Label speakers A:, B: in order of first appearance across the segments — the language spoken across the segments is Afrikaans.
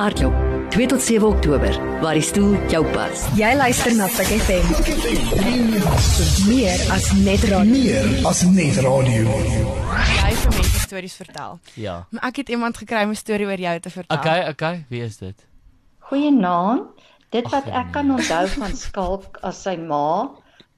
A: Hardloop 2 tot 7 Oktober waar die stoel jou pas.
B: Jy luister na Pick FM. Meer as net radio.
C: Meer as net radio.
D: jy vir mense stories vertel.
E: Ja.
D: Maar ek het iemand gekry om 'n storie oor jou te vertel.
E: Okay, okay, wie is dit?
F: Goeienaand. Dit wat
E: Ag,
F: ek kan onthou van Skalk as sy ma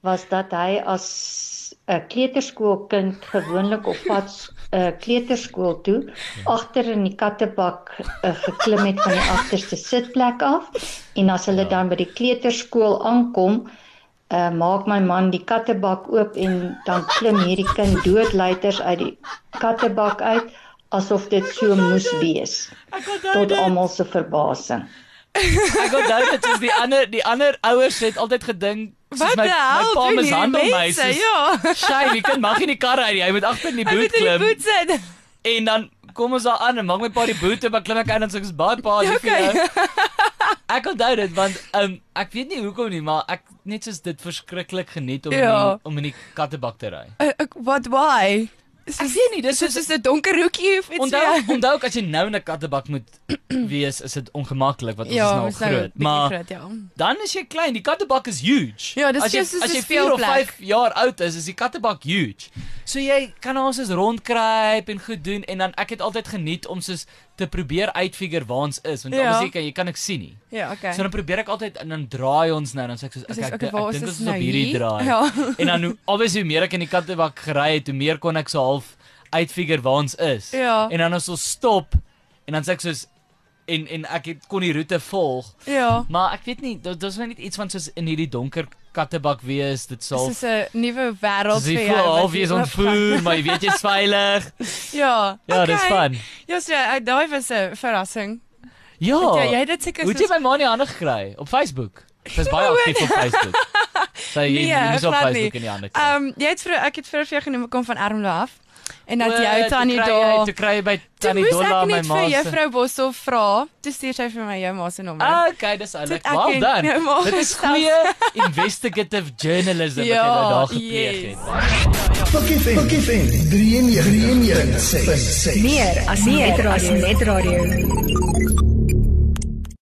F: was dat hy as 'n kleuterskoolkind gewoonlik op pad 'n uh, kleuterskool toe agter in die kattebak uh, geklim het van die agterste sitplek af en as hulle dan by die kleuterskool aankom uh, maak my man die kattebak oop en dan klim hierdie kind doodluiters uit die kattebak uit asof dit so moes wees tot almal se verbasing
E: Ek onthou dit is die ander die ander ouers het altyd gedink
D: Wat
E: my
D: die hel?
E: my pa
D: doen hierdie
E: mishandel my.
D: mense?
E: soos,
D: Ja.
E: Sy, die kind mag nie die kar uit nie. Hy moet agter in die
D: Hy
E: boot
D: moet in die
E: klim
D: boot sit.
E: en dan kom ons daar aan en maak my pa die boot op, ek klim ek uit en sê ek is baie pa lief vir
D: Okay.
E: jou. Ek onthou dit want um, ek weet nie hoekom nie, maar ek net soos dit verskriklik geniet om in
D: Ja.
E: die, om in die kattebak te ry.
D: Uh, ek- Wat why?
E: Ek weet nie, dis
D: Soos
E: soos
D: is 'n donker hoekie of iets.
E: Onthou,
D: so.
E: onthou ook as jy nou in 'n kattebak moet wees, is dit ongemaklik want ons
D: Ja,
E: is
D: ons nou
E: nou groot.
D: maar
E: Maar
D: groot, ja.
E: Dan is jy klein. Die kattebak is huge.
D: Ja, dis
E: as jy
D: soos 'n
E: as jy 4 of
D: speelplek.
E: 5 jaar oud is, is die kattebak huge. So jy kan ons soos rondkruip en goed doen en dan ek het altyd geniet om soos te probeer uitfigure waar ons is want
D: Ja.
E: ja. obviously jy kan ek sien nie.
D: Ja, okay.
E: So dan probeer ek altyd en dan draai ons nou dan sê ek soos
D: Dis
E: okay, ek,
D: okay,
E: ek,
D: waar
E: ek
D: is
E: dink
D: ons
E: ons is op
D: nou
E: hierdie
D: hier?
E: draai.
D: Ja.
E: en dan hoe- obviously hoe meer ek in die kattebak gery het, hoe meer kon ek so half uitfigure waar ons is.
D: Ja.
E: En dan as ons stop en dan sê ek soos en en ek het, kon die roete volg.
D: ja.
E: Maar ek weet nie, dit dis net iets van soos in hierdie donker kattebak wees, dit sal
D: Dis 'n nuwe wêreld
E: Dis
D: vir
E: die
D: jou. wat
E: half
D: jy
E: is
D: oopgaan.
E: ontvoer, maar jy weet jy's veilig.
D: Ja.
E: Ja,
D: okay.
E: dis fun.
D: Ja, so uh, daai was 'n verrassing.
E: Ja.
D: Ja, jy het dit seker
E: Hoe het jy my ma nie hande gekry op Facebook? Sy's baie aktief op Facebook. Sy jy, jy moet
D: nee. glad nie.
E: op Facebook in die hande kry.
D: Ehm jy het vir ek het vir vir jou genoem kom van Ermelo af en dat
E: O,
D: jou tannie
E: toe kry jy-
D: daar
E: Toe kry jy by
D: Toe
E: tannie
D: moes
E: Dolla
D: ek
E: my
D: net
E: ma.
D: vir
E: se-
D: juffrou Boshoff vra, toe stuur sy vir my jou ma se nommer.
E: Ah, okay, dis eintlik
D: ek
E: wel
D: en
E: dan.
D: jou ma
E: Dit is
D: gesels.
E: goeie investigative journalism wat jy nou
D: Ja,
E: daar gepleeg
D: yes.
E: het.
C: Pakkie FM, Pakkie FM, 93.6.
B: Meer as net radio.